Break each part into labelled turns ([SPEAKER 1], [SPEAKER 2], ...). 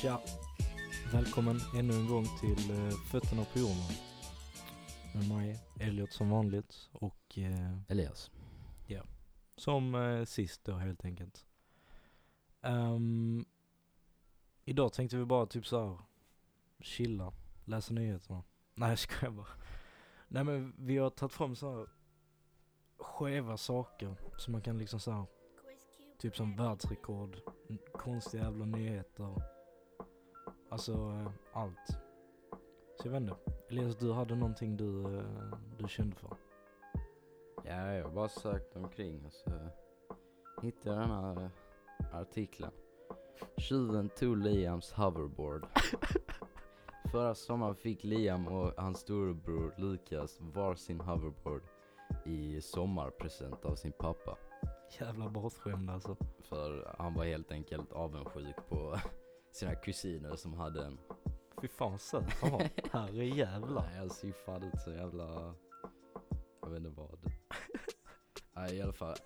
[SPEAKER 1] Tja! Välkommen ännu en gång till eh, Fötterna på jorden. Med mig, Elliot som vanligt och eh,
[SPEAKER 2] Elias.
[SPEAKER 1] som eh, sist då helt enkelt. Ehm, idag tänkte vi bara typ så här chilla, läsa nyheterna. Nej jag skojar bara. Nej men vi har tagit fram så här skeva saker som man kan liksom så här Typ som världsrekord, n- konstiga jävla nyheter. Alltså eh, allt. Så jag vet inte. Elias, du hade någonting du, eh, du kände för.
[SPEAKER 2] Ja, jag har bara sökt omkring och så hittade jag den här eh, artikeln. Tjuven tog Liams hoverboard. Förra sommaren fick Liam och hans storebror Lukas varsin hoverboard i sommarpresent av sin pappa.
[SPEAKER 1] Jävla bortskämd alltså.
[SPEAKER 2] För han var helt enkelt avundsjuk på sina kusiner som hade en.
[SPEAKER 1] Fy fan vad söt han var. Herrejävlar.
[SPEAKER 2] Nej, jag ser fan ut så jävla... Jag vet inte vad. Nej, i alla fall.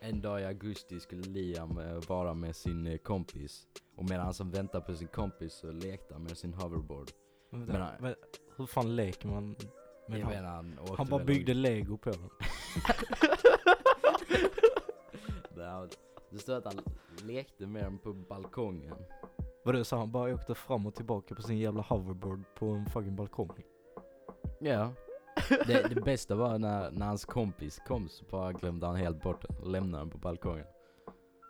[SPEAKER 2] En dag i augusti skulle Liam eh, vara med sin eh, kompis. Och medan han väntade på sin kompis så lekte han med sin hoverboard.
[SPEAKER 1] Men, vänta,
[SPEAKER 2] Men han-
[SPEAKER 1] men, hur fan leker man med
[SPEAKER 2] Men
[SPEAKER 1] han?
[SPEAKER 2] han, han, åkte
[SPEAKER 1] Han bara
[SPEAKER 2] väl-
[SPEAKER 1] byggde lego på den.
[SPEAKER 2] Det här- Det står att han lekte med den på balkongen.
[SPEAKER 1] Vadå så han bara åkte fram och tillbaka på sin jävla hoverboard på en fucking balkong?
[SPEAKER 2] Ja. Det, det bästa var när, när hans kompis kom så bara glömde han helt bort den och lämnade den på balkongen.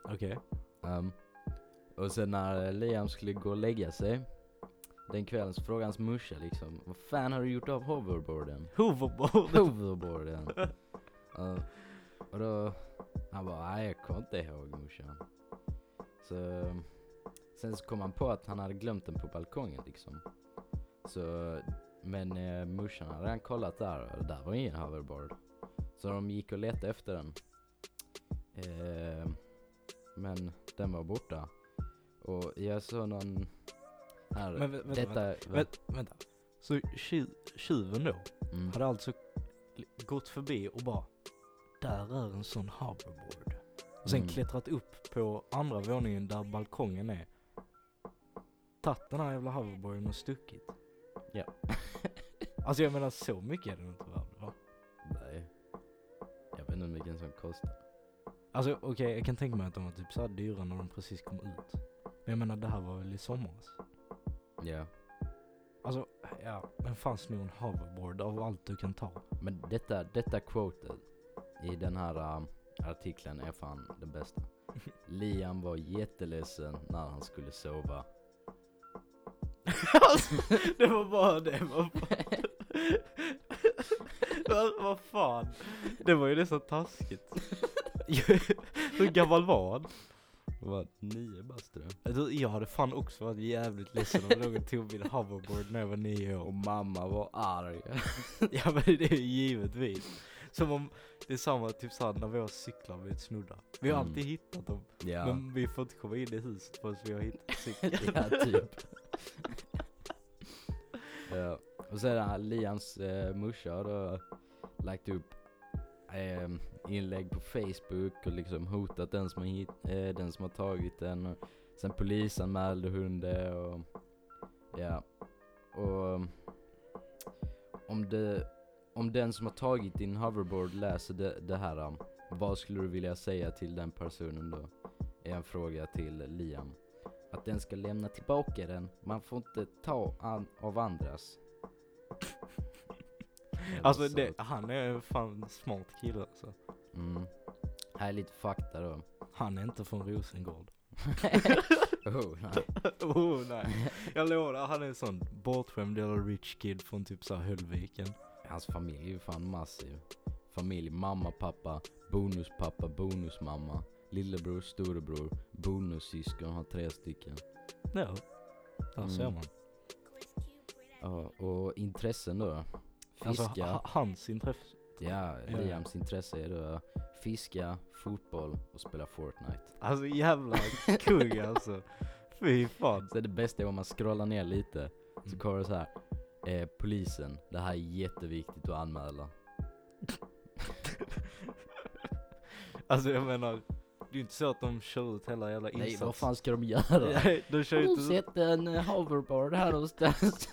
[SPEAKER 1] Okej.
[SPEAKER 2] Ehm, och sen när Liam skulle gå och lägga sig den kvällen så frågade hans morsa liksom Vad fan har du gjort av hoverboarden?
[SPEAKER 1] Hoverboard.
[SPEAKER 2] Hoverboarden! Ehm, och då han bara nej jag kommer inte ihåg morsan. Så sen så kom han på att han hade glömt den på balkongen liksom. Så men eh, morsan hade redan kollat där och där var ingen hoverboard. Så de gick och letade efter den. Eh, men den var borta. Och jag såg någon här.
[SPEAKER 1] Men vä- vänta,
[SPEAKER 2] detta,
[SPEAKER 1] Vänt, vänta. Så tju- tjuven då?
[SPEAKER 2] Mm.
[SPEAKER 1] hade alltså li- gått förbi och bara Där är en sån hoverboard. Och sen
[SPEAKER 2] Mm.
[SPEAKER 1] klättrat upp på andra våningen där balkongen är. Tagit den här jävla hoverboarden och stuckit.
[SPEAKER 2] Ja.
[SPEAKER 1] alltså jag menar så mycket är den inte värd va?
[SPEAKER 2] Nej. Jag vet inte hur mycket en sån kostar.
[SPEAKER 1] Alltså okej jag kan tänka mig att de var typ såhär dyra när de precis kom ut. Men jag menar det här var väl i somras?
[SPEAKER 2] Ja.
[SPEAKER 1] Alltså ja, men fanns nog en hoverboard av allt du kan ta.
[SPEAKER 2] Men detta, detta quoted i den här um, artikeln är fan det bästa. Liam var jätteledsen när han skulle sova.
[SPEAKER 1] Alltså, det var bara det. Var bara... Vad- Vad fan. Det var ju nästan taskigt. Hur gammal var han?
[SPEAKER 2] Vad? Nio bast tror jag.
[SPEAKER 1] Du, jag hade fan också varit jävligt ledsen om någon tog min hoverboard när jag var nio år.
[SPEAKER 2] Och mamma var arg.
[SPEAKER 1] Ja men det är ju givetvis. Som om det är samma typ såhär när våra cyklar har blivit snodda. Vi har
[SPEAKER 2] Mm.
[SPEAKER 1] alltid hittat dem.
[SPEAKER 2] ja.
[SPEAKER 1] Men vi får inte komma in i huset förrän vi har hittat cykeln.
[SPEAKER 2] ja, typ. ja. Och sen har Liams eh, morsa har då lagt upp ehm, inlägg på Facebook och liksom hotat den som har, hit, eh, den som har tagit den. Och sen polisanmälde hon det och ja. Och um, om, det, om den som har tagit din hoverboard läser det, det här, um, vad skulle du vilja säga till den personen då? Är en fråga till Liam att den ska lämna tillbaka den. Man får inte ta an- av andras. Jävla
[SPEAKER 1] Alltså
[SPEAKER 2] salt.
[SPEAKER 1] det, han är fan en smart kille alltså.
[SPEAKER 2] Mm. Här är lite fakta då.
[SPEAKER 1] Han är inte från Rosengård.
[SPEAKER 2] oh, nej.
[SPEAKER 1] Oh nej, jag lovar han är en sån bortskämd jävla rich kid från typ såhär Höllviken.
[SPEAKER 2] Hans familj är ju fan massiv. Familj, mamma, pappa, bonuspappa, bonusmamma, lillebror, storebror, bonussyskon, har tre stycken.
[SPEAKER 1] Ja, där
[SPEAKER 2] Mm.
[SPEAKER 1] ser man.
[SPEAKER 2] Ja, och intressen då?
[SPEAKER 1] Alltså,
[SPEAKER 2] Fiska.
[SPEAKER 1] ha- hans intresse.
[SPEAKER 2] ja,
[SPEAKER 1] ja.
[SPEAKER 2] Liams intresse är då fiska, fotboll och spela Fortnite.
[SPEAKER 1] Alltså jävla kung alltså. Fy fan.
[SPEAKER 2] Så det bästa är om man scrollar ner lite, så
[SPEAKER 1] Mm.
[SPEAKER 2] kommer det så här. Eh, polisen, det här är jätteviktigt att anmäla.
[SPEAKER 1] Alltså jag menar, Det är ju inte så att de kör ut hela jävla
[SPEAKER 2] Nej
[SPEAKER 1] insatsen.
[SPEAKER 2] vad fan ska de göra?
[SPEAKER 1] de kör
[SPEAKER 2] Har
[SPEAKER 1] ju
[SPEAKER 2] du
[SPEAKER 1] inte ut,
[SPEAKER 2] sett en eh, hoverboard här någonstans?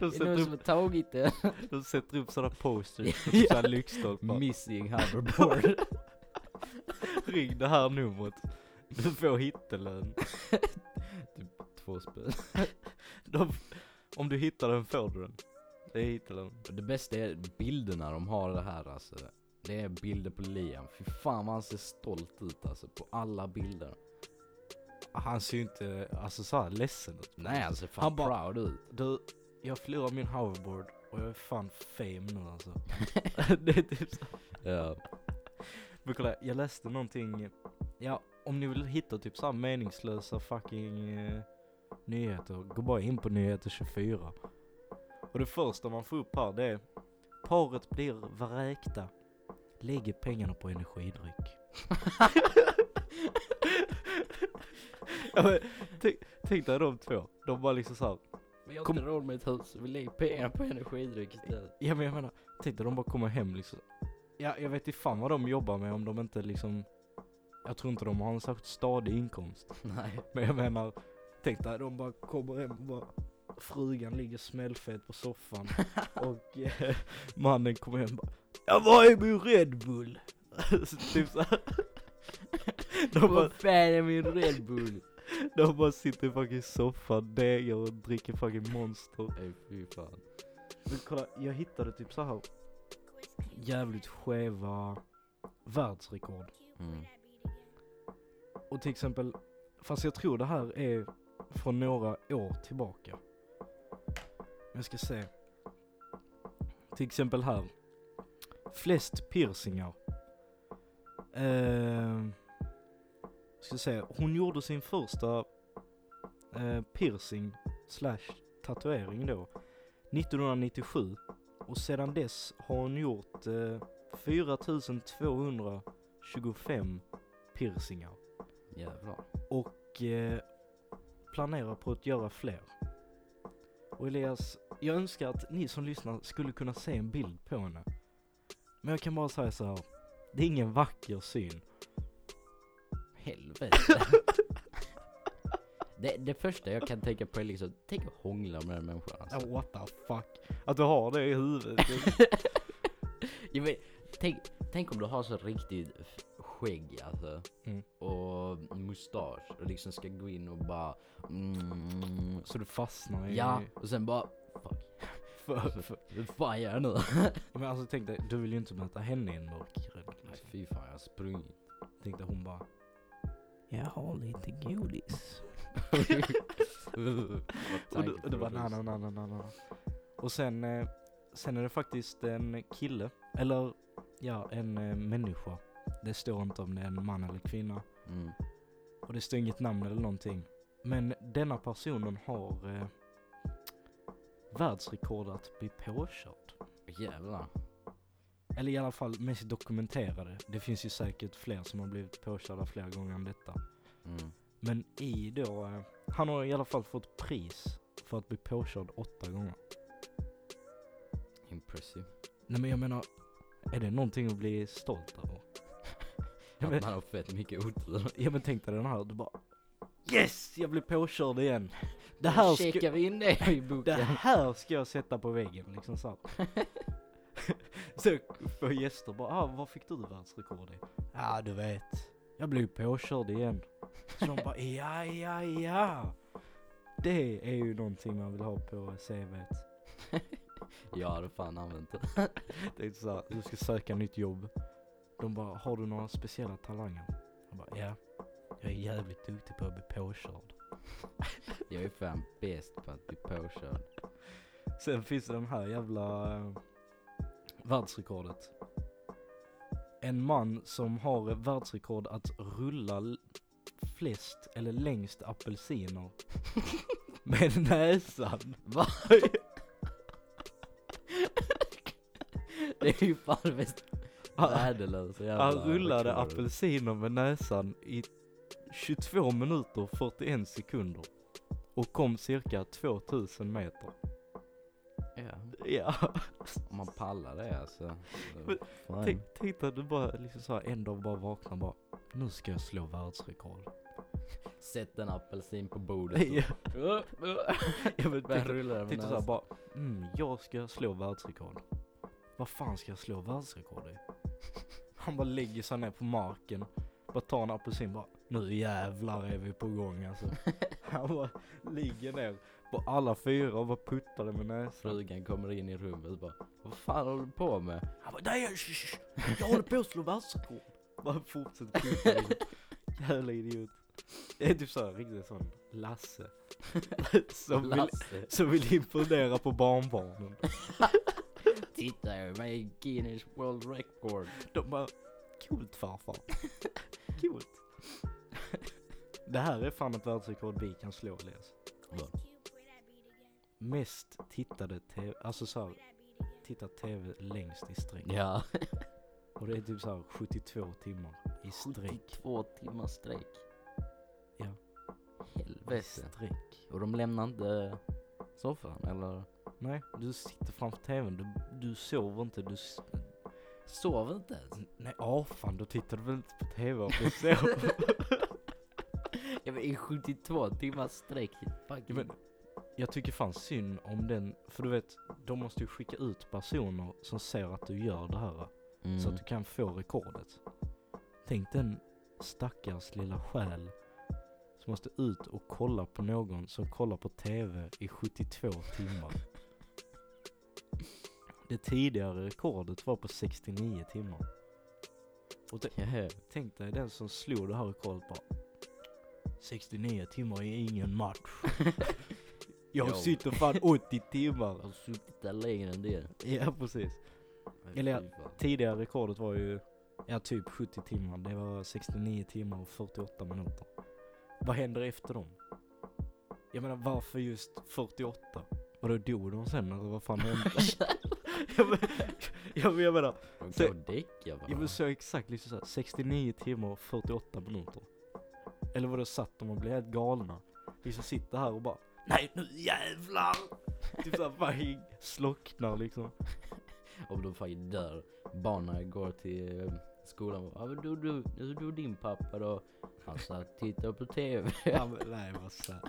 [SPEAKER 1] de
[SPEAKER 2] Det är
[SPEAKER 1] sätter,
[SPEAKER 2] någon som
[SPEAKER 1] upp,
[SPEAKER 2] har tagit den.
[SPEAKER 1] de sätter upp sådana posters på
[SPEAKER 2] Ja.
[SPEAKER 1] sådana lyktstolpar.
[SPEAKER 2] Missing hoverboard.
[SPEAKER 1] Ring det här numret. Du får hittelön.
[SPEAKER 2] Två spänn.
[SPEAKER 1] De, om du hittar den får du den. Det är hittelön.
[SPEAKER 2] Det bästa är bilderna de har det här alltså. Det är bilder på Liam. Fy fan vad han ser stolt ut alltså på alla bilder.
[SPEAKER 1] Han ser ju inte alltså, så här ledsen ut.
[SPEAKER 2] Nej han ser fan
[SPEAKER 1] Han bara-
[SPEAKER 2] proud ut.
[SPEAKER 1] Du, jag förlorade min hoverboard och jag är fan fame nu alltså. det är typ så.
[SPEAKER 2] Ja.
[SPEAKER 1] Men kolla, jag läste någonting. Ja, om ni vill hitta typ så här meningslösa fucking eh, nyheter, gå bara in på nyheter 24. Och det första man får upp här det är Paret blir vräkta. Lägger pengarna på energidryck. ja, men, tänk, tänk dig de två. De bara liksom såhär.
[SPEAKER 2] Men jag har
[SPEAKER 1] Kom-
[SPEAKER 2] inte råd med ett hus, vi lägger pengar på energidryck istället.
[SPEAKER 1] Ja men jag menar, tänk dig de bara kommer hem liksom. Ja, jag vet inte fan vad de jobbar med om de inte liksom... Jag tror inte de har en särskilt stadig inkomst.
[SPEAKER 2] Nej.
[SPEAKER 1] Men jag menar, tänk dig de bara kommer hem och bara... Frugan ligger smällfet på soffan och eh, mannen kommer hem och bara Jag var i min Red Bull! Så typ så här. de, bara,
[SPEAKER 2] Vad fan är min Red Bull?
[SPEAKER 1] de bara sitter i fucking soffan, degar och dricker fucking monster.
[SPEAKER 2] Nej fy fan.
[SPEAKER 1] Men kolla, jag hittade typ så här jävligt skeva världsrekord.
[SPEAKER 2] Mm.
[SPEAKER 1] Och till exempel, fast jag tror det här är från några år tillbaka. Jag ska se. Till exempel här. Flest piercingar. Eh, ska se, hon gjorde sin första eh, piercing slash tatuering då 1997 och sedan dess har hon gjort eh, 4225 piercingar
[SPEAKER 2] Jävlar.
[SPEAKER 1] och eh, planerar på att göra fler. Och Elias, jag önskar att ni som lyssnar skulle kunna se en bild på henne. Men jag kan bara säga så här. Det är ingen vacker syn.
[SPEAKER 2] Helvete. det, det första jag kan tänka på är liksom, tänk att hångla med den människan alltså.
[SPEAKER 1] Oh, what the fuck. Att du har det i huvudet.
[SPEAKER 2] Jag vet, tänk, tänk om du har så riktigt f- skägg alltså.
[SPEAKER 1] Mm.
[SPEAKER 2] Och mustasch och liksom ska gå in och bara mm,
[SPEAKER 1] så du fastnar i...
[SPEAKER 2] Ja, och sen bara fuck.
[SPEAKER 1] För, för.
[SPEAKER 2] Vad fan gör jag nu?
[SPEAKER 1] Men alltså tänk dig, du vill ju inte möta henne i en mörkgrön.
[SPEAKER 2] Nej,
[SPEAKER 1] Liksom.
[SPEAKER 2] fy fan jag har sprungit.
[SPEAKER 1] Tänk dig hon bara. Jag har lite godis. Och du, och du bara nej, nej, nej, nej, nej, nej. Och sen, eh, sen är det faktiskt en kille, eller ja, en eh, människa. Det står inte om det är en man eller kvinna.
[SPEAKER 2] Mm.
[SPEAKER 1] Och det står inget namn eller någonting. Men denna personen har eh, världsrekord att bli påkörd.
[SPEAKER 2] Jävlar.
[SPEAKER 1] Eller i alla fall mest dokumenterade. Det finns ju säkert fler som har blivit påkörda fler gånger än detta.
[SPEAKER 2] Mm.
[SPEAKER 1] Men i då, eh, han har i alla fall fått pris för att bli påkörd åtta gånger.
[SPEAKER 2] Impressive.
[SPEAKER 1] Nej men jag menar, är det någonting att bli stolt över? Ja, men-
[SPEAKER 2] Att man har fett mycket otur.
[SPEAKER 1] Ja men tänk dig den här, du bara Yes! Jag blev påkörd igen! Det här,
[SPEAKER 2] checkar
[SPEAKER 1] ska,
[SPEAKER 2] vi in det
[SPEAKER 1] det
[SPEAKER 2] i boken.
[SPEAKER 1] här ska jag sätta på väggen liksom så. här. så får gäster bara, ah, vad fick du världsrekord i? Ja ah, du vet, jag blev påkörd igen. Så de bara, ja ja ja! Det är ju någonting man vill ha på CVt.
[SPEAKER 2] Jag hade fan använt det.
[SPEAKER 1] Det är så här, du ska söka nytt jobb. De bara, har du några speciella talanger? Jag bara, ja. Jag är jävligt duktig på att bli påkörd.
[SPEAKER 2] Jag är fan bäst på att bli påkörd.
[SPEAKER 1] Sen finns det den här jävla eh, världsrekordet. En man som har världsrekord att rulla l- flest eller längst apelsiner med näsan.
[SPEAKER 2] Va? Det är ju fan det mest
[SPEAKER 1] Han,
[SPEAKER 2] värdelösa jävla
[SPEAKER 1] han rullade
[SPEAKER 2] rekordet.
[SPEAKER 1] apelsiner med näsan i 22 minuter 41 sekunder och kom cirka 2000 meter.
[SPEAKER 2] Ja,
[SPEAKER 1] Ja,
[SPEAKER 2] om man pallar det alltså.
[SPEAKER 1] Men
[SPEAKER 2] Fan.
[SPEAKER 1] tänk, tänk dig att du bara liksom så här en dag bara vaknar och bara Nu ska jag slå världsrekord.
[SPEAKER 2] Sätt en apelsin på bordet och...
[SPEAKER 1] jag vet,
[SPEAKER 2] Börjar
[SPEAKER 1] titta,
[SPEAKER 2] rulla den med
[SPEAKER 1] titta såhär
[SPEAKER 2] näsan.
[SPEAKER 1] bara, mm, jag ska slå världsrekord. Vad fan ska jag slå världsrekord i? Han bara lägger sig ner på marken, bara tar en apelsin bara, nu jävlar är vi på gång alltså. Han bara ligger ner på alla fyra och bara puttar det med näsan.
[SPEAKER 2] Frugan kommer in i rummet och bara Vad fan håller du på med?
[SPEAKER 1] Han bara, nej sh, sh, sh, jag håller på att slå världsrekord. Bara fortsätter putta liksom. Jävla idiot. Det är typ såhär riktigt sån Lasse. Som vill,
[SPEAKER 2] Lasse,
[SPEAKER 1] som vill imponera på barnbarnen.
[SPEAKER 2] titta jag är med i Guinness World Record.
[SPEAKER 1] De bara, coolt farfar. Coolt. Det här är fan ett världsrekord vi kan slå Elias. Mest tittade tv, alltså såhär, tittat tv längst i sträck.
[SPEAKER 2] Ja.
[SPEAKER 1] Och det är typ såhär 72 timmar i sträck.
[SPEAKER 2] 72 timmars strejk.
[SPEAKER 1] Ja. I
[SPEAKER 2] Helvete.
[SPEAKER 1] sträck.
[SPEAKER 2] Och de lämnar inte soffan eller?
[SPEAKER 1] Nej, du sitter framför tvn, du, du sover inte, du... s-
[SPEAKER 2] Sover inte ens.
[SPEAKER 1] Nej, åh fan, då tittar du väl inte på tv om du sover?
[SPEAKER 2] Jag men i 72 timmars strejk.
[SPEAKER 1] Ja,
[SPEAKER 2] Fucking.
[SPEAKER 1] men jag tycker fan synd om den, för du vet, de måste ju skicka ut personer som ser att du gör det här. va?
[SPEAKER 2] mm.
[SPEAKER 1] Så att du kan få rekordet. Tänk den stackars lilla själ som måste ut och kolla på någon som kollar på TV i 72 timmar. Det tidigare rekordet var på 69 timmar. Och tänk-
[SPEAKER 2] Ja.
[SPEAKER 1] tänk dig den som slog det här rekordet bara 69 timmar är ingen match. Jag
[SPEAKER 2] Jo.
[SPEAKER 1] sitter fan 80 timmar.
[SPEAKER 2] Jag har suttit där längre än det.
[SPEAKER 1] Ja precis.
[SPEAKER 2] Men
[SPEAKER 1] Eller
[SPEAKER 2] fy fan.
[SPEAKER 1] Tidigare rekordet var ju ja, typ 70 timmar. Det var 69 timmar och 48 minuter. Vad händer efter dem? Jag menar varför just 48? Vadå dog de sen eller vad fan hände? jag, men, jag, men, jag menar,
[SPEAKER 2] De
[SPEAKER 1] Så-
[SPEAKER 2] går och däckar
[SPEAKER 1] jag
[SPEAKER 2] bara.
[SPEAKER 1] vill säga exakt liksom såhär 69 timmar och 48 minuter. Eller vadå satt de och blev helt galna? Liksom sitter här och bara Nej nu jävlar! typ såhär fucking slocknar liksom.
[SPEAKER 2] Om de fucking dör. Barnen går till eh, skolan och bara, "Ah, men du, du, du, du din pappa då? Han satt titta på TV.
[SPEAKER 1] Ja, men, nej vad sad.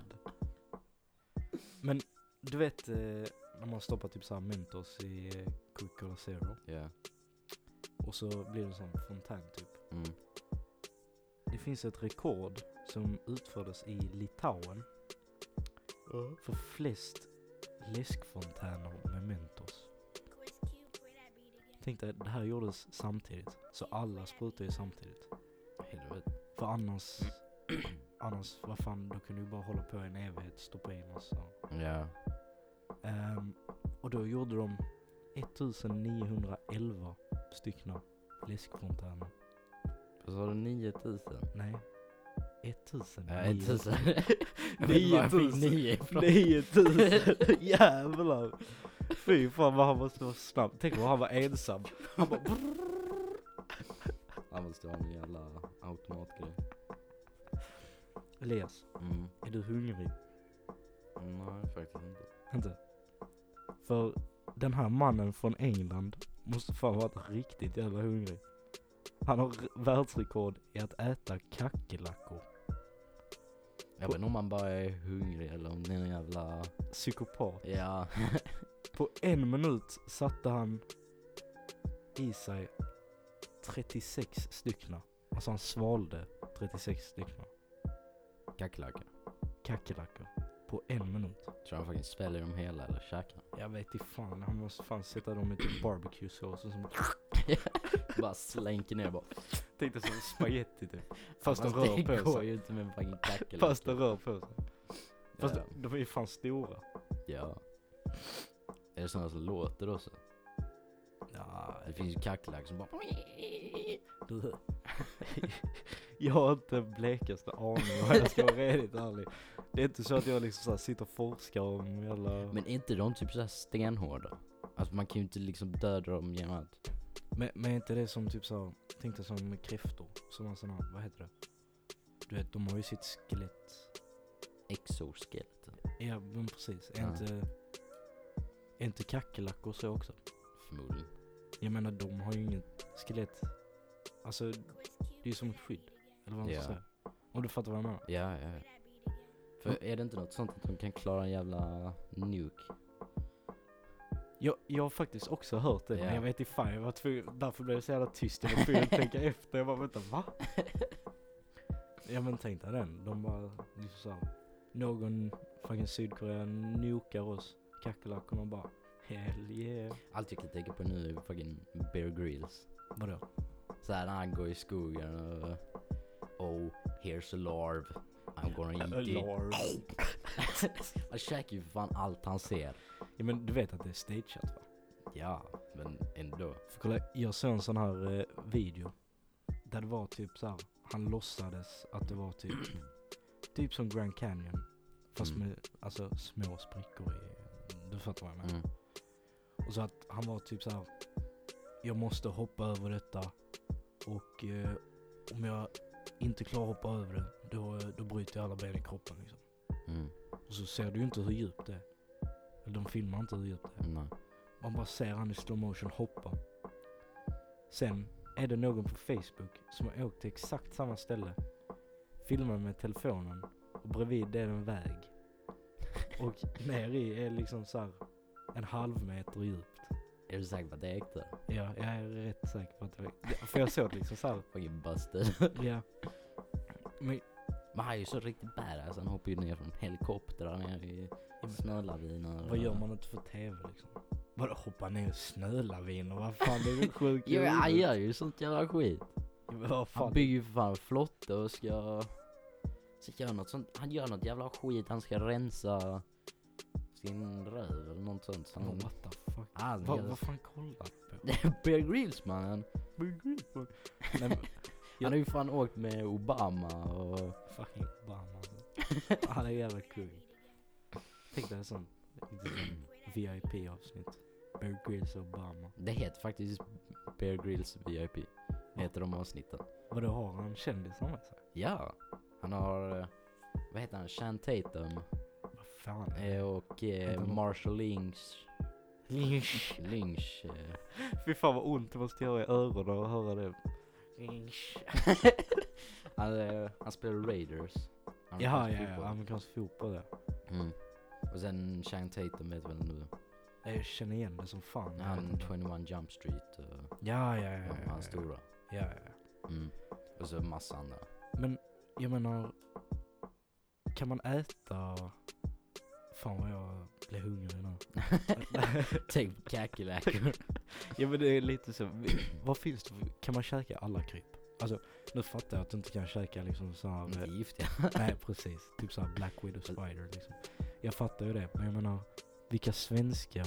[SPEAKER 1] Men du vet eh, när man stoppar typ såhär Mentos i eh, Coca-Cola Zero
[SPEAKER 2] Ja.
[SPEAKER 1] och så blir det en sån fontän typ.
[SPEAKER 2] Mm.
[SPEAKER 1] Det finns ett rekord som utfördes i Litauen för flest läskfontäner med Mentos. Tänk dig, det här gjordes samtidigt. Så alla sprutade ju samtidigt.
[SPEAKER 2] Helvete.
[SPEAKER 1] För annars, annars vad fan, då kunde du bara hålla på i en evighet, stoppa in och så.
[SPEAKER 2] Ja.
[SPEAKER 1] Ehm, och då gjorde de 1911 stycken läskfontäner.
[SPEAKER 2] Och så har du 9000.
[SPEAKER 1] Nej.
[SPEAKER 2] Ja,
[SPEAKER 1] 1900.
[SPEAKER 2] 1000. Jag vet inte var jag fick
[SPEAKER 1] 9000.
[SPEAKER 2] 9 ifrån.
[SPEAKER 1] 9000. Jävlar. Fy fan vad han måste vara snabb. Tänk om han var ensam. Han bara
[SPEAKER 2] Han måste ha en jävla automatgrej.
[SPEAKER 1] Elias,
[SPEAKER 2] Mm.
[SPEAKER 1] är du hungrig?
[SPEAKER 2] Nej, faktiskt inte.
[SPEAKER 1] Inte? För den här mannen från England måste fan varit riktigt jävla hungrig. Han har r- världsrekord i att äta kackerlackor.
[SPEAKER 2] Jag vet inte om man bara är hungrig eller om det är en jävla...
[SPEAKER 1] Psykopat.
[SPEAKER 2] Ja.
[SPEAKER 1] På en minut satte han i sig 36 stycken. Alltså han svalde 36 stycken
[SPEAKER 2] Kackerlacka.
[SPEAKER 1] kackerlackor på en minut.
[SPEAKER 2] Tror han faktiskt sväljer dem hela eller käkar.
[SPEAKER 1] Jag vet inte fan, han måste fan sätta dem i typ barbecuesås och som
[SPEAKER 2] Bara slänker ner bara.
[SPEAKER 1] Tänkte som spagetti typ. Fast de
[SPEAKER 2] Fast
[SPEAKER 1] rör
[SPEAKER 2] det
[SPEAKER 1] på
[SPEAKER 2] går
[SPEAKER 1] sig.
[SPEAKER 2] ju inte med en fucking kackerlacka.
[SPEAKER 1] Fast de rör på sig. Fast
[SPEAKER 2] ja.
[SPEAKER 1] de är ju fan stora.
[SPEAKER 2] ja. Är det sådana som låter också?
[SPEAKER 1] Ja,
[SPEAKER 2] Det finns ju kackerlackor som bara...
[SPEAKER 1] Du. jag har inte blekaste aning om jag ska vara riktigt ärlig. Det är inte så att jag liksom så här sitter och forskar om jävla...
[SPEAKER 2] Men är inte de typ såhär stenhårda? Alltså man kan ju inte liksom döda dem genom att...
[SPEAKER 1] Men, men är inte det som typ så, tänk dig som kräftor, som har såna, vad heter det? Du vet, de har ju sitt skelett.
[SPEAKER 2] Exoskeleten.
[SPEAKER 1] Ja, men precis. Är
[SPEAKER 2] Ja.
[SPEAKER 1] inte, är inte kackerlackor så också?
[SPEAKER 2] Förmodligen.
[SPEAKER 1] Jag menar, de har ju inget skelett. Alltså, det är ju som ett skydd. Eller vad man ska
[SPEAKER 2] Ja.
[SPEAKER 1] säga. Om du fattar vad jag menar.
[SPEAKER 2] Ja, ja. För är det inte något sånt att de kan klara en jävla nuke?
[SPEAKER 1] Jag, jag har faktiskt också hört det,
[SPEAKER 2] Ja.
[SPEAKER 1] men jag vet inte fan. Jag var tvungen, därför blev jag så jävla tyst. Jag var tvungen att tänka efter. Jag bara, vänta, va? Ja men tänk dig den. De bara, liksom så här, Någon fucking Sydkorea nokar oss kackerlackorna och bara, hell yeah.
[SPEAKER 2] Allt jag kan tänka på nu är fucking Bear Grylls.
[SPEAKER 1] Vadå?
[SPEAKER 2] Såhär när han går i skogen och... Oh, here's a larv. I'm gonna eat it.
[SPEAKER 1] Larv.
[SPEAKER 2] Han käkar ju för fan allt han ser.
[SPEAKER 1] Ja men du vet att det är stageat va?
[SPEAKER 2] Ja, men ändå.
[SPEAKER 1] För kolla, jag såg en sån här eh, video. Där det var typ så här, han låtsades att det var typ, typ som Grand Canyon. Fast
[SPEAKER 2] Mm.
[SPEAKER 1] med alltså, små sprickor i, du fattar vad jag menar.
[SPEAKER 2] Mm.
[SPEAKER 1] Och så att han var typ så här, jag måste hoppa över detta. Och eh, om jag inte klarar att hoppa över det, då, eh, då bryter jag alla ben i kroppen liksom.
[SPEAKER 2] Mm.
[SPEAKER 1] Och så ser du ju inte hur djupt det är. Eller de filmar inte hur djupt det är.
[SPEAKER 2] Nej.
[SPEAKER 1] Man bara ser han i slow motion hoppa. Sen är det någon på Facebook som har åkt till exakt samma ställe. Filmar med telefonen och bredvid är det en väg. Och ner i är liksom så här en halv meter djupt.
[SPEAKER 2] Är du säker på att det är äkta?
[SPEAKER 1] Ja, jag är rätt säker på att det var... Ja, För jag såg det liksom så här.
[SPEAKER 2] Fucking busted.
[SPEAKER 1] Ja. Men
[SPEAKER 2] Men han är ju så riktigt badass. Han hoppar ju ner från helikoptrar ner i snölaviner.
[SPEAKER 1] vad gör
[SPEAKER 2] och-
[SPEAKER 1] man inte för TV liksom? Vadå hoppa ner i snölaviner? Vad fan det är du sjuk i
[SPEAKER 2] Jo, men han
[SPEAKER 1] huvudet?
[SPEAKER 2] gör ju sånt jävla skit.
[SPEAKER 1] Ja, men Vad
[SPEAKER 2] Han
[SPEAKER 1] fan?
[SPEAKER 2] bygger ju för fan flotte och ska... ska göra något sånt. Han gör något jävla skit. Han ska rensa sin röv eller något sånt. Så han...
[SPEAKER 1] What the fuck?
[SPEAKER 2] han
[SPEAKER 1] Vad
[SPEAKER 2] gör-
[SPEAKER 1] vad fan kollar du på?
[SPEAKER 2] Bear Grylls mannen.
[SPEAKER 1] Nej, men
[SPEAKER 2] Han har ju fan åkt med Obama och...
[SPEAKER 1] fucking Obama alltså. Han är jävla kung. Tänk dig en sån VIP-avsnitt. Bear Grylls och Obama.
[SPEAKER 2] Det heter faktiskt Bear Grylls VIP. Heter de avsnitten.
[SPEAKER 1] Vadå, har han kändisar med sig?
[SPEAKER 2] Ja. Han har... eh, Vad heter han? Shan Tatum.
[SPEAKER 1] Vad fan?
[SPEAKER 2] eh, Och
[SPEAKER 1] Heter
[SPEAKER 2] eh,
[SPEAKER 1] han-
[SPEAKER 2] Marshall Lynch.
[SPEAKER 1] Lynch.
[SPEAKER 2] Lynch. eh.
[SPEAKER 1] Fy fan vad ont det måste göra i öronen att höra det.
[SPEAKER 2] Han, eh, han spelar Raiders. Han
[SPEAKER 1] Jaha, ja,
[SPEAKER 2] spelar
[SPEAKER 1] ja,
[SPEAKER 2] fotboll.
[SPEAKER 1] amerikansk fotboll ja.
[SPEAKER 2] Mm. Och sen Shan Tatum vet väl nu.
[SPEAKER 1] Nej, Jag känner igen det som fan. jag vet
[SPEAKER 2] Han
[SPEAKER 1] inte.
[SPEAKER 2] 21 Jump Street. Och,
[SPEAKER 1] Ja, ja, ja. ja,
[SPEAKER 2] ja,
[SPEAKER 1] ja,
[SPEAKER 2] han stora.
[SPEAKER 1] ja, ja, ja.
[SPEAKER 2] Mm. Och så massa andra.
[SPEAKER 1] Men jag menar, kan man äta... Fan vad jag blir hungrig nu.
[SPEAKER 2] Tänk på kackerlackor.
[SPEAKER 1] Ja men det är lite så, vad finns det för- kan man käka alla kryp? Alltså nu fattar jag att du inte kan käka liksom så
[SPEAKER 2] De är
[SPEAKER 1] här,
[SPEAKER 2] giftiga.
[SPEAKER 1] nej precis, typ så här Black Widow Spider liksom. Jag fattar ju det, men jag menar, vilka svenska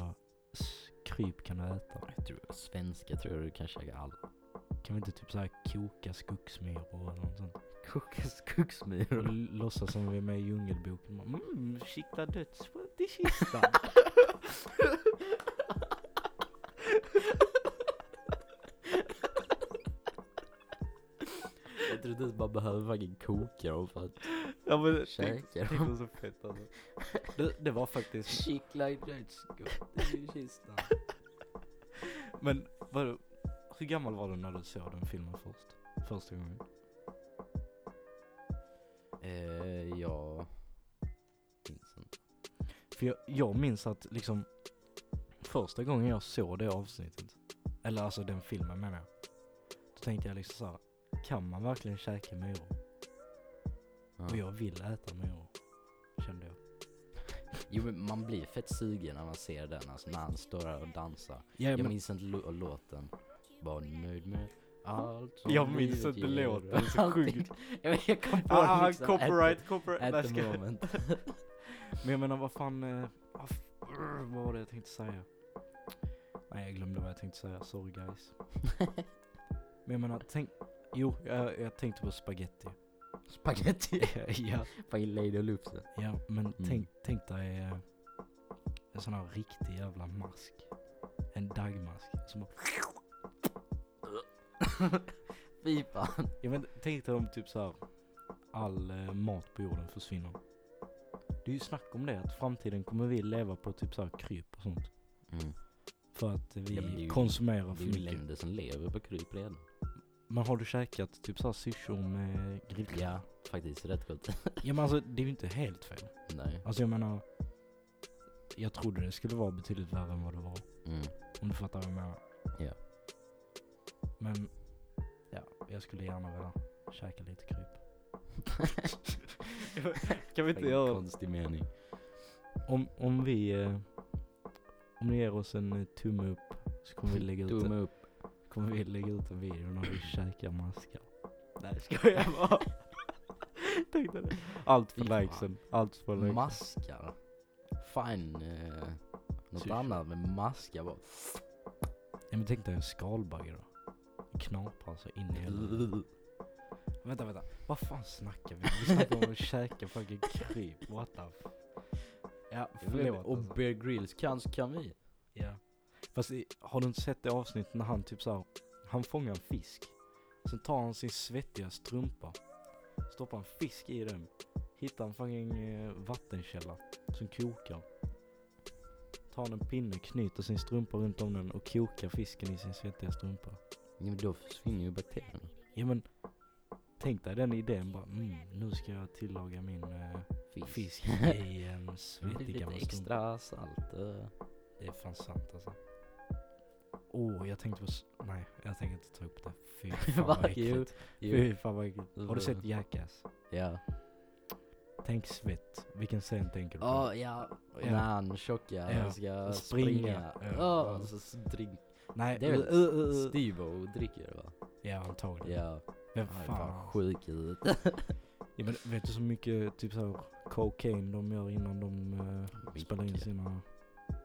[SPEAKER 1] s- kryp kan du äta?
[SPEAKER 2] Jag tror, svenska tror jag du kan käka alla.
[SPEAKER 1] Kan vi inte typ så här koka skogsmyror eller något sånt?
[SPEAKER 2] Kokas
[SPEAKER 1] Och
[SPEAKER 2] skogsmyror.
[SPEAKER 1] l- låtsas som vi är med i Djungelboken. Mm, kikta dödsfullt i kistan.
[SPEAKER 2] Jag tror inte ens man behöver fucking koka dem för att
[SPEAKER 1] ja men tänk,
[SPEAKER 2] käka
[SPEAKER 1] tänk
[SPEAKER 2] dem.
[SPEAKER 1] vad så fett alltså. Det, det var faktiskt
[SPEAKER 2] Kittla dödsgott i kistan.
[SPEAKER 1] Men vadå, hur gammal var du när du såg den filmen först? Första gången?
[SPEAKER 2] Eh, ja... Minns inte.
[SPEAKER 1] För jag, jag minns att liksom första gången jag såg det avsnittet, eller alltså den filmen menar jag, då tänkte jag liksom såhär, kan man verkligen käka myror? Och jag vill äta myror, kände jag.
[SPEAKER 2] Jo men man blir fett sugen när man ser den, alltså när han står där och dansar.
[SPEAKER 1] Ja,
[SPEAKER 2] Jag
[SPEAKER 1] men,
[SPEAKER 2] minns inte lo- låten. Var nöjd med allt som
[SPEAKER 1] jag minns
[SPEAKER 2] livet
[SPEAKER 1] inte
[SPEAKER 2] ger.
[SPEAKER 1] låten, så
[SPEAKER 2] Allting.
[SPEAKER 1] sjukt.
[SPEAKER 2] Jag vet, jag kom på
[SPEAKER 1] Ah,
[SPEAKER 2] den liksom at the-
[SPEAKER 1] copyright, copyright.
[SPEAKER 2] At,
[SPEAKER 1] Nej,
[SPEAKER 2] the
[SPEAKER 1] ska-
[SPEAKER 2] moment.
[SPEAKER 1] Men jag menar vad fan, eh, vad f- urr, vad var det jag tänkte säga? Nej jag glömde vad jag tänkte säga, sorry guys. Men jag menar, tänk, jo jag, jag tänkte på spaghetti.
[SPEAKER 2] Spagetti.
[SPEAKER 1] ja,
[SPEAKER 2] Fucking Lady och Lufsen.
[SPEAKER 1] ja, men
[SPEAKER 2] Mm.
[SPEAKER 1] tänk, tänk dig eh, en sån här riktig jävla mask. En dagmask. Som, bara-
[SPEAKER 2] Fy fan.
[SPEAKER 1] jag vet, inte, tänk dig om typ så här all eh, mat på jorden försvinner. Det är ju snack om det, att framtiden kommer vi leva på typ så här kryp och sånt. För att vi
[SPEAKER 2] Mm. Ja, men det är ju-
[SPEAKER 1] konsumerar
[SPEAKER 2] Det
[SPEAKER 1] för
[SPEAKER 2] är ju
[SPEAKER 1] mycket.
[SPEAKER 2] länder som lever på kryp redan.
[SPEAKER 1] Men har du käkat typ såhär syrsor med grillkött?
[SPEAKER 2] Ja, faktiskt rätt gott.
[SPEAKER 1] ja men alltså det är ju inte helt fel.
[SPEAKER 2] Nej.
[SPEAKER 1] Alltså jag menar. Jag trodde det skulle vara betydligt värre än vad det var.
[SPEAKER 2] Mm.
[SPEAKER 1] Om du fattar vad jag menar.
[SPEAKER 2] Ja.
[SPEAKER 1] Men ja, jag skulle gärna vilja käka lite kryp. kan vi inte
[SPEAKER 2] Vilken
[SPEAKER 1] göra
[SPEAKER 2] konstig mening.
[SPEAKER 1] Om, om vi... Eh, om ni ger oss en eh, tumme upp så kommer vi lägga ut,
[SPEAKER 2] Tumme
[SPEAKER 1] en,
[SPEAKER 2] upp.
[SPEAKER 1] kommer vi lägga ut en video när vi käkar maskar. Nej, ska jag bara. Tänkte det. Allt för
[SPEAKER 2] Fy fan.
[SPEAKER 1] lägsen. Allt för lägsen.
[SPEAKER 2] Maskar. Fine. Eh, något
[SPEAKER 1] Syrsor.
[SPEAKER 2] annat med maskar bara.
[SPEAKER 1] Ja, men tänk dig en skalbagge då. Det Knaprar alltså in i hela... vänta, vänta. Vad fan snackar vi om? Vi snackar om att käka fucking kryp. What the f... Ja, förlåt
[SPEAKER 2] Och
[SPEAKER 1] alltså.
[SPEAKER 2] Bear Grylls kan, kan vi.
[SPEAKER 1] Ja. Fast i- har du inte sett det avsnittet när han typ såhär, han fångar en fisk. Sen tar han sin svettiga strumpa, stoppar en fisk i den, hittar en fucking eh, vattenkälla som kokar. Tar en pinne, knyter sin strumpa runt om den och kokar fisken i sin svettiga strumpa.
[SPEAKER 2] Ja, men då försvinner ju bakterierna.
[SPEAKER 1] Ja men, tänk dig den idén bara, mm, nu ska jag tillaga min eh, fisk i en
[SPEAKER 2] Med
[SPEAKER 1] svettig
[SPEAKER 2] lite
[SPEAKER 1] gammal strumpa.
[SPEAKER 2] extra salt. eh.
[SPEAKER 1] Det är fan sant alltså. Åh, oh, jag tänkte på... s- Nej, jag tänker inte ta upp det. Fy fan vad
[SPEAKER 2] Va? Jo,
[SPEAKER 1] äckligt.
[SPEAKER 2] jo.
[SPEAKER 1] Fy fan vad äckligt. Har du sett Jackass?
[SPEAKER 2] Ja.
[SPEAKER 1] Tänk svett. Vilken scen tänker du på?
[SPEAKER 2] Ja, ja.
[SPEAKER 1] Ja.
[SPEAKER 2] När han tjocka
[SPEAKER 1] Ja. Springa.
[SPEAKER 2] ska springa.
[SPEAKER 1] Ja.
[SPEAKER 2] Ja,
[SPEAKER 1] Ja.
[SPEAKER 2] och så s- drink.
[SPEAKER 1] Nej,
[SPEAKER 2] Det är väl
[SPEAKER 1] uh, uh, uh, uh.
[SPEAKER 2] Steve-O dricker va?
[SPEAKER 1] Ja, antagligen.
[SPEAKER 2] Ja.
[SPEAKER 1] Vem
[SPEAKER 2] Han är
[SPEAKER 1] fan?
[SPEAKER 2] fan sjuk i huvudet.
[SPEAKER 1] Ja, men vet du så mycket typ såhär cocaine de gör innan de eh, spelar in
[SPEAKER 2] Mycket.
[SPEAKER 1] sina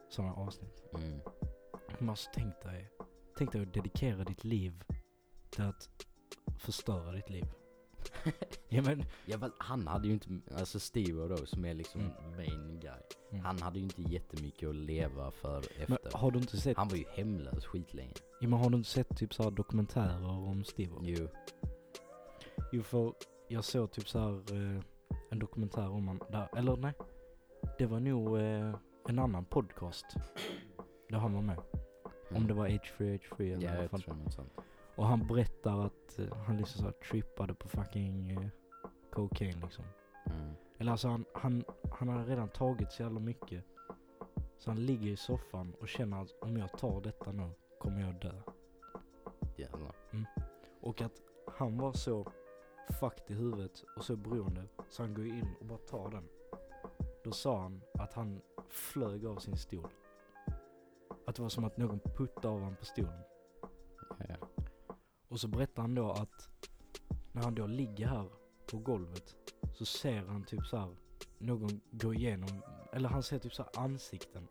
[SPEAKER 1] sådana avsnitt?
[SPEAKER 2] Mm.
[SPEAKER 1] Men alltså tänk dig. Tänk dig att dedikera ditt liv till att förstöra ditt liv. ja men.
[SPEAKER 2] Ja fast han hade ju inte, alltså Steve då som är liksom
[SPEAKER 1] Mm.
[SPEAKER 2] main guy.
[SPEAKER 1] Mm.
[SPEAKER 2] Han hade ju inte jättemycket att leva för
[SPEAKER 1] men
[SPEAKER 2] efter.
[SPEAKER 1] har du inte sett
[SPEAKER 2] Han var ju hemlös skitlänge.
[SPEAKER 1] Ja, men har du inte sett typ så här dokumentärer om Steve? Jo.
[SPEAKER 2] Jo.
[SPEAKER 1] för jag såg typ så här eh, en dokumentär om han där, eller nej. Det var nog eh, en annan podcast. Där han var med. Om det var H3H3 eller
[SPEAKER 2] Mm. Ja
[SPEAKER 1] vad
[SPEAKER 2] jag
[SPEAKER 1] fan.
[SPEAKER 2] tror något sånt.
[SPEAKER 1] Och han berättar att eh, han liksom så här trippade på fucking eh, cocaine liksom.
[SPEAKER 2] Mm.
[SPEAKER 1] Eller alltså han, han, han har redan tagit så jävla mycket. Så han ligger i soffan och känner att om jag tar detta nu kommer jag dö.
[SPEAKER 2] Jävlar.
[SPEAKER 1] Och att han var så fucked i huvudet och så beroende så han går ju in och bara tar den. Då sa han att han flög av sin stol. Att det var som att någon puttade av honom på stolen.
[SPEAKER 2] Ja.
[SPEAKER 1] Och så berättar han då att när han då ligger här på golvet så ser han typ så här någon gå igenom, eller han ser typ så här ansikten.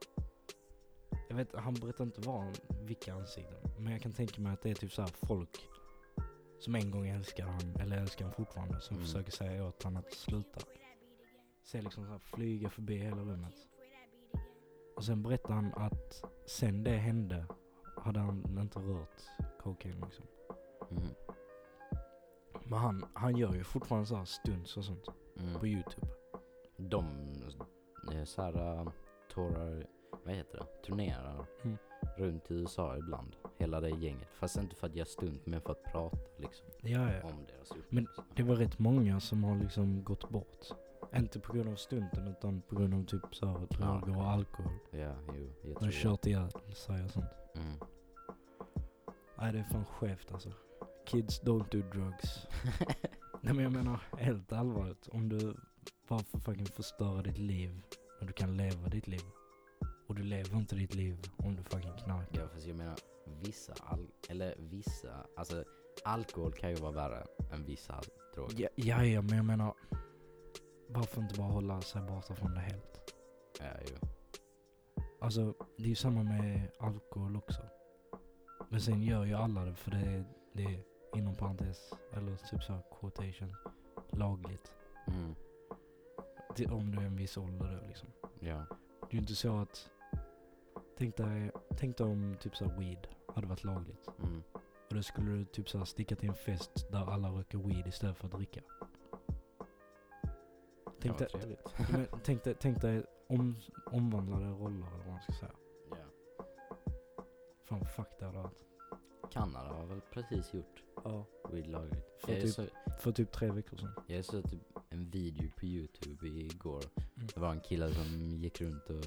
[SPEAKER 1] Jag vet, han berättar inte vad, han- vilka ansikten. Men jag kan tänka mig att det är typ så här folk som en gång älskar han, eller älskar han fortfarande, som
[SPEAKER 2] Mm.
[SPEAKER 1] försöker säga åt honom att sluta. Ser liksom så här flyga förbi hela rummet. Och sen berättar han att sen det hände hade han inte rört kokain liksom.
[SPEAKER 2] Mm.
[SPEAKER 1] Men han, han gör ju fortfarande så här stunts och sånt på
[SPEAKER 2] Mm.
[SPEAKER 1] youtube.
[SPEAKER 2] De, eh, såhär, tårar, vad heter det? Turnerar
[SPEAKER 1] Mm.
[SPEAKER 2] runt i USA ibland. Hela det gänget. Fast inte för att göra stunt men för att prata liksom
[SPEAKER 1] Ja, ja.
[SPEAKER 2] om deras
[SPEAKER 1] Men
[SPEAKER 2] upplevelser.
[SPEAKER 1] det var rätt många som har liksom gått bort. Inte på grund av stunten utan på grund av typ så här droger och alkohol.
[SPEAKER 2] Ja, jo. Jag
[SPEAKER 1] De har
[SPEAKER 2] tror
[SPEAKER 1] kört ihjäl sig och sånt.
[SPEAKER 2] det. Mm.
[SPEAKER 1] Nej det är fan skevt alltså. Kids don't do drugs.
[SPEAKER 2] Mm.
[SPEAKER 1] Nej men jag menar helt allvarligt. Om du bara får fucking förstöra ditt liv. Men du kan leva ditt liv. Och du lever inte ditt liv om du fucking knarkar.
[SPEAKER 2] Ja fast jag menar vissa, al- eller vissa, alltså alkohol kan ju vara värre än vissa droger.
[SPEAKER 1] Ja, ja, ja men jag menar. Varför inte bara hålla sig borta från det helt?
[SPEAKER 2] Ja, jo.
[SPEAKER 1] Alltså det är ju samma med alkohol också. Men sen gör ju alla det för det är, det är inom parentes, eller typ så här quotation, lagligt.
[SPEAKER 2] Mm.
[SPEAKER 1] Det, om du är en viss ålder då liksom.
[SPEAKER 2] Ja.
[SPEAKER 1] Det är ju inte så att, tänk dig, tänk dig om typ så här weed hade varit lagligt.
[SPEAKER 2] Mm.
[SPEAKER 1] Och då skulle du typ så här sticka till en fest där alla röker weed istället för att dricka. Tänk dig,
[SPEAKER 2] trevligt.
[SPEAKER 1] men, tänk dig, tänk dig om, omvandlade roller eller vad man ska säga.
[SPEAKER 2] ja.
[SPEAKER 1] Fan fuck det hade varit.
[SPEAKER 2] Kanada har väl precis gjort
[SPEAKER 1] Ja,
[SPEAKER 2] weed-lagret.
[SPEAKER 1] För
[SPEAKER 2] Jag,
[SPEAKER 1] typ-
[SPEAKER 2] så,
[SPEAKER 1] för typ tre veckor sedan.
[SPEAKER 2] jag såg typ en video på youtube igår.
[SPEAKER 1] Mm.
[SPEAKER 2] Det var en kille som gick runt och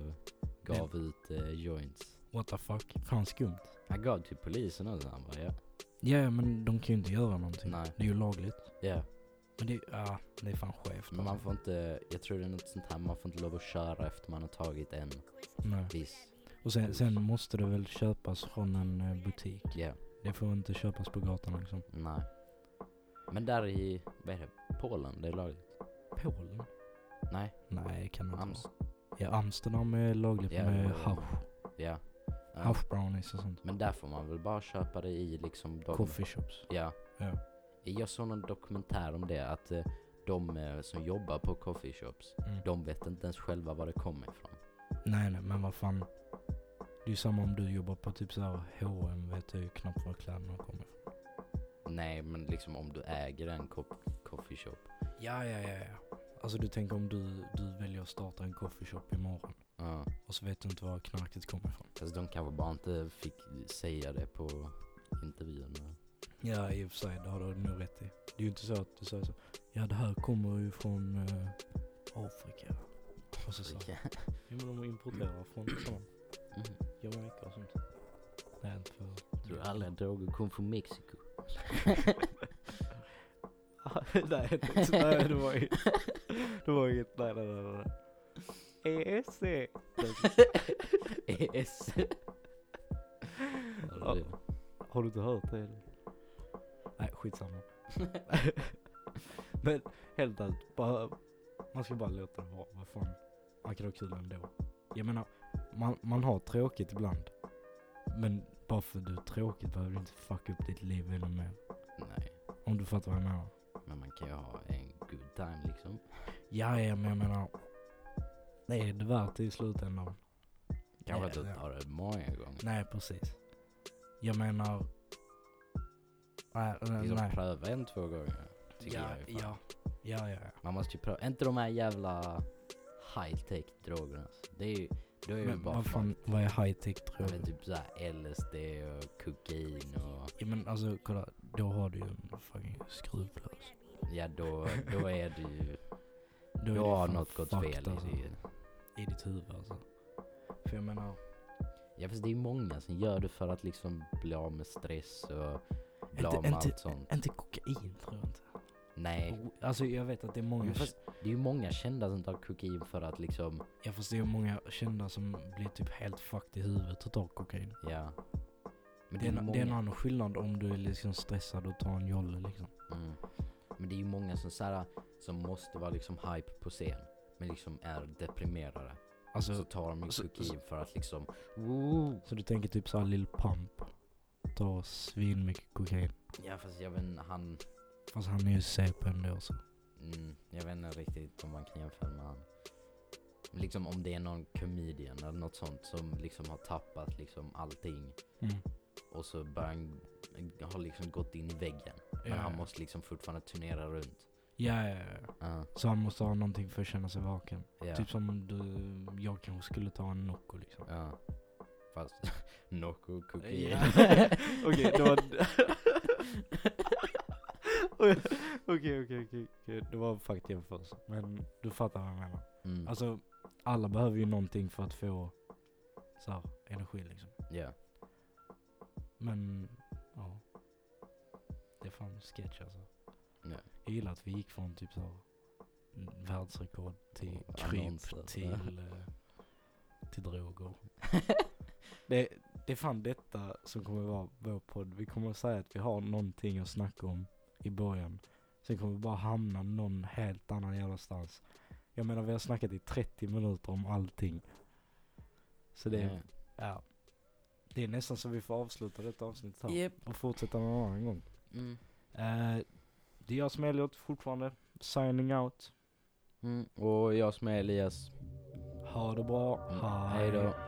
[SPEAKER 2] gav ut eh, joints.
[SPEAKER 1] What the fuck. Fan skumt.
[SPEAKER 2] Han gav till polisen och så han bara ja.
[SPEAKER 1] Ja, ja, men de kan ju inte göra någonting.
[SPEAKER 2] Nej.
[SPEAKER 1] Det är ju lagligt.
[SPEAKER 2] ja.
[SPEAKER 1] Men det, ja, det är fan skevt. alltså.
[SPEAKER 2] Men man får inte, jag tror det är något sånt här, man får inte lov att köra efter man har tagit en
[SPEAKER 1] Nej.
[SPEAKER 2] viss.
[SPEAKER 1] Och sen, sen måste det väl köpas från en eh, butik.
[SPEAKER 2] Ja,
[SPEAKER 1] Det får inte köpas på gatan liksom.
[SPEAKER 2] nej. Men där i, vad är det, Polen det är lagligt?
[SPEAKER 1] Polen?
[SPEAKER 2] Nej,
[SPEAKER 1] Nej, det kan det inte
[SPEAKER 2] Ams.
[SPEAKER 1] vara. Ja, Amsterdam är lagligt
[SPEAKER 2] Ja, det
[SPEAKER 1] med
[SPEAKER 2] var-
[SPEAKER 1] hasch.
[SPEAKER 2] Ja. Ja.
[SPEAKER 1] Hasch brownies och sånt.
[SPEAKER 2] Men där får man väl bara köpa det i liksom de...
[SPEAKER 1] Coffee shops.
[SPEAKER 2] Ja.
[SPEAKER 1] Ja.
[SPEAKER 2] Jag såg någon dokumentär om det, att eh, de eh, som jobbar på coffeeshops,
[SPEAKER 1] Mm.
[SPEAKER 2] de vet inte ens själva var det kommer ifrån.
[SPEAKER 1] Nej, nej, men vad fan. Det är ju samma om du jobbar på typ såhär H&M vet du ju knappt var kläderna kommer ifrån.
[SPEAKER 2] Nej, men liksom om du äger en co- coffeeshop.
[SPEAKER 1] Ja, ja, ja, ja. Alltså du tänker om du, du väljer att starta en coffee shop imorgon
[SPEAKER 2] Ja.
[SPEAKER 1] och så vet du inte var knarket kommer ifrån.
[SPEAKER 2] Alltså de kanske bara inte fick säga det på intervjun.
[SPEAKER 1] Ja, i och för sig, det har du nog rätt i. Det är ju inte så att du säger så. Ja, det här kommer ju från eh, Afrika. Och så sa
[SPEAKER 2] Afrika.
[SPEAKER 1] Ja, men de importerar från sån
[SPEAKER 2] Mm.
[SPEAKER 1] Jamaica och sånt. Nej, inte för...
[SPEAKER 2] Tror alla droger kom från Mexiko?
[SPEAKER 1] nej, det- nej, det var inget. Det var inget. Nej, nej, nej. E nej. ESC.
[SPEAKER 2] ES.
[SPEAKER 1] Ja. Har du inte hört det? Eller? Nej, skitsamma. Men helt ärligt, bara, man ska bara låta det vara. Vad fan, man kan ha kul ändå. Jag menar, man, man har tråkigt ibland. Men bara för att du är tråkigt behöver du inte fucka upp ditt liv ännu mer.
[SPEAKER 2] Nej,
[SPEAKER 1] Om du fattar vad jag menar.
[SPEAKER 2] men man kan ju ha en good time liksom.
[SPEAKER 1] Ja, ja, men jag menar. Det är det värt det i slutändan.
[SPEAKER 2] Kanske att
[SPEAKER 1] Ja,
[SPEAKER 2] du
[SPEAKER 1] ja.
[SPEAKER 2] tar det många gånger.
[SPEAKER 1] Nej, precis. Jag menar. Nej, nej,
[SPEAKER 2] Liksom
[SPEAKER 1] nej.
[SPEAKER 2] pröva en två gånger. Tycker
[SPEAKER 1] Ja,
[SPEAKER 2] jag ju fan.
[SPEAKER 1] ja, ja, ja. ja.
[SPEAKER 2] Man måste ju pröva. Inte de här jävla high tech drogerna. alltså. Det är ju, då är ju
[SPEAKER 1] Men
[SPEAKER 2] bara
[SPEAKER 1] vad fan,
[SPEAKER 2] fucked.
[SPEAKER 1] vad är high tech
[SPEAKER 2] Ja,
[SPEAKER 1] tror
[SPEAKER 2] men typ såhär LSD och kokain och
[SPEAKER 1] Ja men alltså kolla, då har du ju en fucking skruvlös.
[SPEAKER 2] ja då, då är det ju,
[SPEAKER 1] Då är det
[SPEAKER 2] då har
[SPEAKER 1] fan
[SPEAKER 2] något gått
[SPEAKER 1] fucked,
[SPEAKER 2] fel i
[SPEAKER 1] alltså,
[SPEAKER 2] det.
[SPEAKER 1] i ditt huvud alltså. För jag menar,
[SPEAKER 2] Ja fast det är många som gör det för att liksom bli av med stress och bli
[SPEAKER 1] Inte-
[SPEAKER 2] av med
[SPEAKER 1] inte-
[SPEAKER 2] allt sånt.
[SPEAKER 1] inte kokain tror jag inte.
[SPEAKER 2] Nej.
[SPEAKER 1] Och- Alltså jag vet att det är många,
[SPEAKER 2] Men fast det är ju många kända som tar kokain för att liksom,
[SPEAKER 1] jag förstår ju många kända som blir typ helt fucked i huvudet och tar kokain.
[SPEAKER 2] ja. Men
[SPEAKER 1] Det
[SPEAKER 2] det,
[SPEAKER 1] är,
[SPEAKER 2] är ju
[SPEAKER 1] en, det är en
[SPEAKER 2] många,
[SPEAKER 1] annan skillnad om du är liksom stressad och tar en jolle liksom.
[SPEAKER 2] mm. Men det är ju många som såhär, som måste vara liksom hype på scen. Men liksom är deprimerade.
[SPEAKER 1] Alltså,
[SPEAKER 2] Så
[SPEAKER 1] så,
[SPEAKER 2] tar de ju
[SPEAKER 1] så-
[SPEAKER 2] kokain för att liksom, woo!
[SPEAKER 1] du tänker typ såhär Lil Pump. Tar svin mycket kokain.
[SPEAKER 2] Ja fast jag vet inte, han,
[SPEAKER 1] Fast han är ju CP ändå så.
[SPEAKER 2] mm, jag vet inte riktigt om man kan jämföra med han. Men Liksom om det är någon comedian eller något sånt som liksom har tappat liksom allting.
[SPEAKER 1] Mm.
[SPEAKER 2] och så börjar han har liksom gått in i väggen. Men
[SPEAKER 1] Ja,
[SPEAKER 2] han
[SPEAKER 1] ja.
[SPEAKER 2] måste liksom fortfarande turnera runt.
[SPEAKER 1] Eh, Ja, ja, ja.
[SPEAKER 2] Ja,
[SPEAKER 1] Så han måste ha någonting för att känna sig vaken.
[SPEAKER 2] ja,
[SPEAKER 1] Typ som om du, jag kanske skulle ta en Nocco liksom.
[SPEAKER 2] ja. Fast Nocco kokain.
[SPEAKER 1] Ja. Okej, det var- Okej, okej, okej. Det var faktiskt jämförelse. Men du fattar vad jag menar.
[SPEAKER 2] Mm,
[SPEAKER 1] Alltså, alla behöver ju någonting för att få så här, energi liksom.
[SPEAKER 2] ja.
[SPEAKER 1] Men, ja. Det är fan sketch alltså.
[SPEAKER 2] Ja.
[SPEAKER 1] Jag gillar att vi gick från typ så här, världsrekord till
[SPEAKER 2] Och
[SPEAKER 1] kryp
[SPEAKER 2] annonser.
[SPEAKER 1] till, eh, till droger. det, det är fan detta som kommer vara vår podd. Vi kommer att säga att vi har någonting att snacka om i början. Sen kommer vi bara hamna någon helt annan jävla stans. Jag menar vi har snackat i 30 minuter om allting. Så det,
[SPEAKER 2] Ja.
[SPEAKER 1] är ja. Det är nästan så vi får avsluta detta avsnittet här.
[SPEAKER 2] Japp.
[SPEAKER 1] Och fortsätta någon annan gång.
[SPEAKER 2] Mm.
[SPEAKER 1] Eh, det är jag som är Elliot fortfarande. Signing out.
[SPEAKER 2] Mm. Och jag som är Elias.
[SPEAKER 1] Ha det bra.
[SPEAKER 2] Mm. Hej då.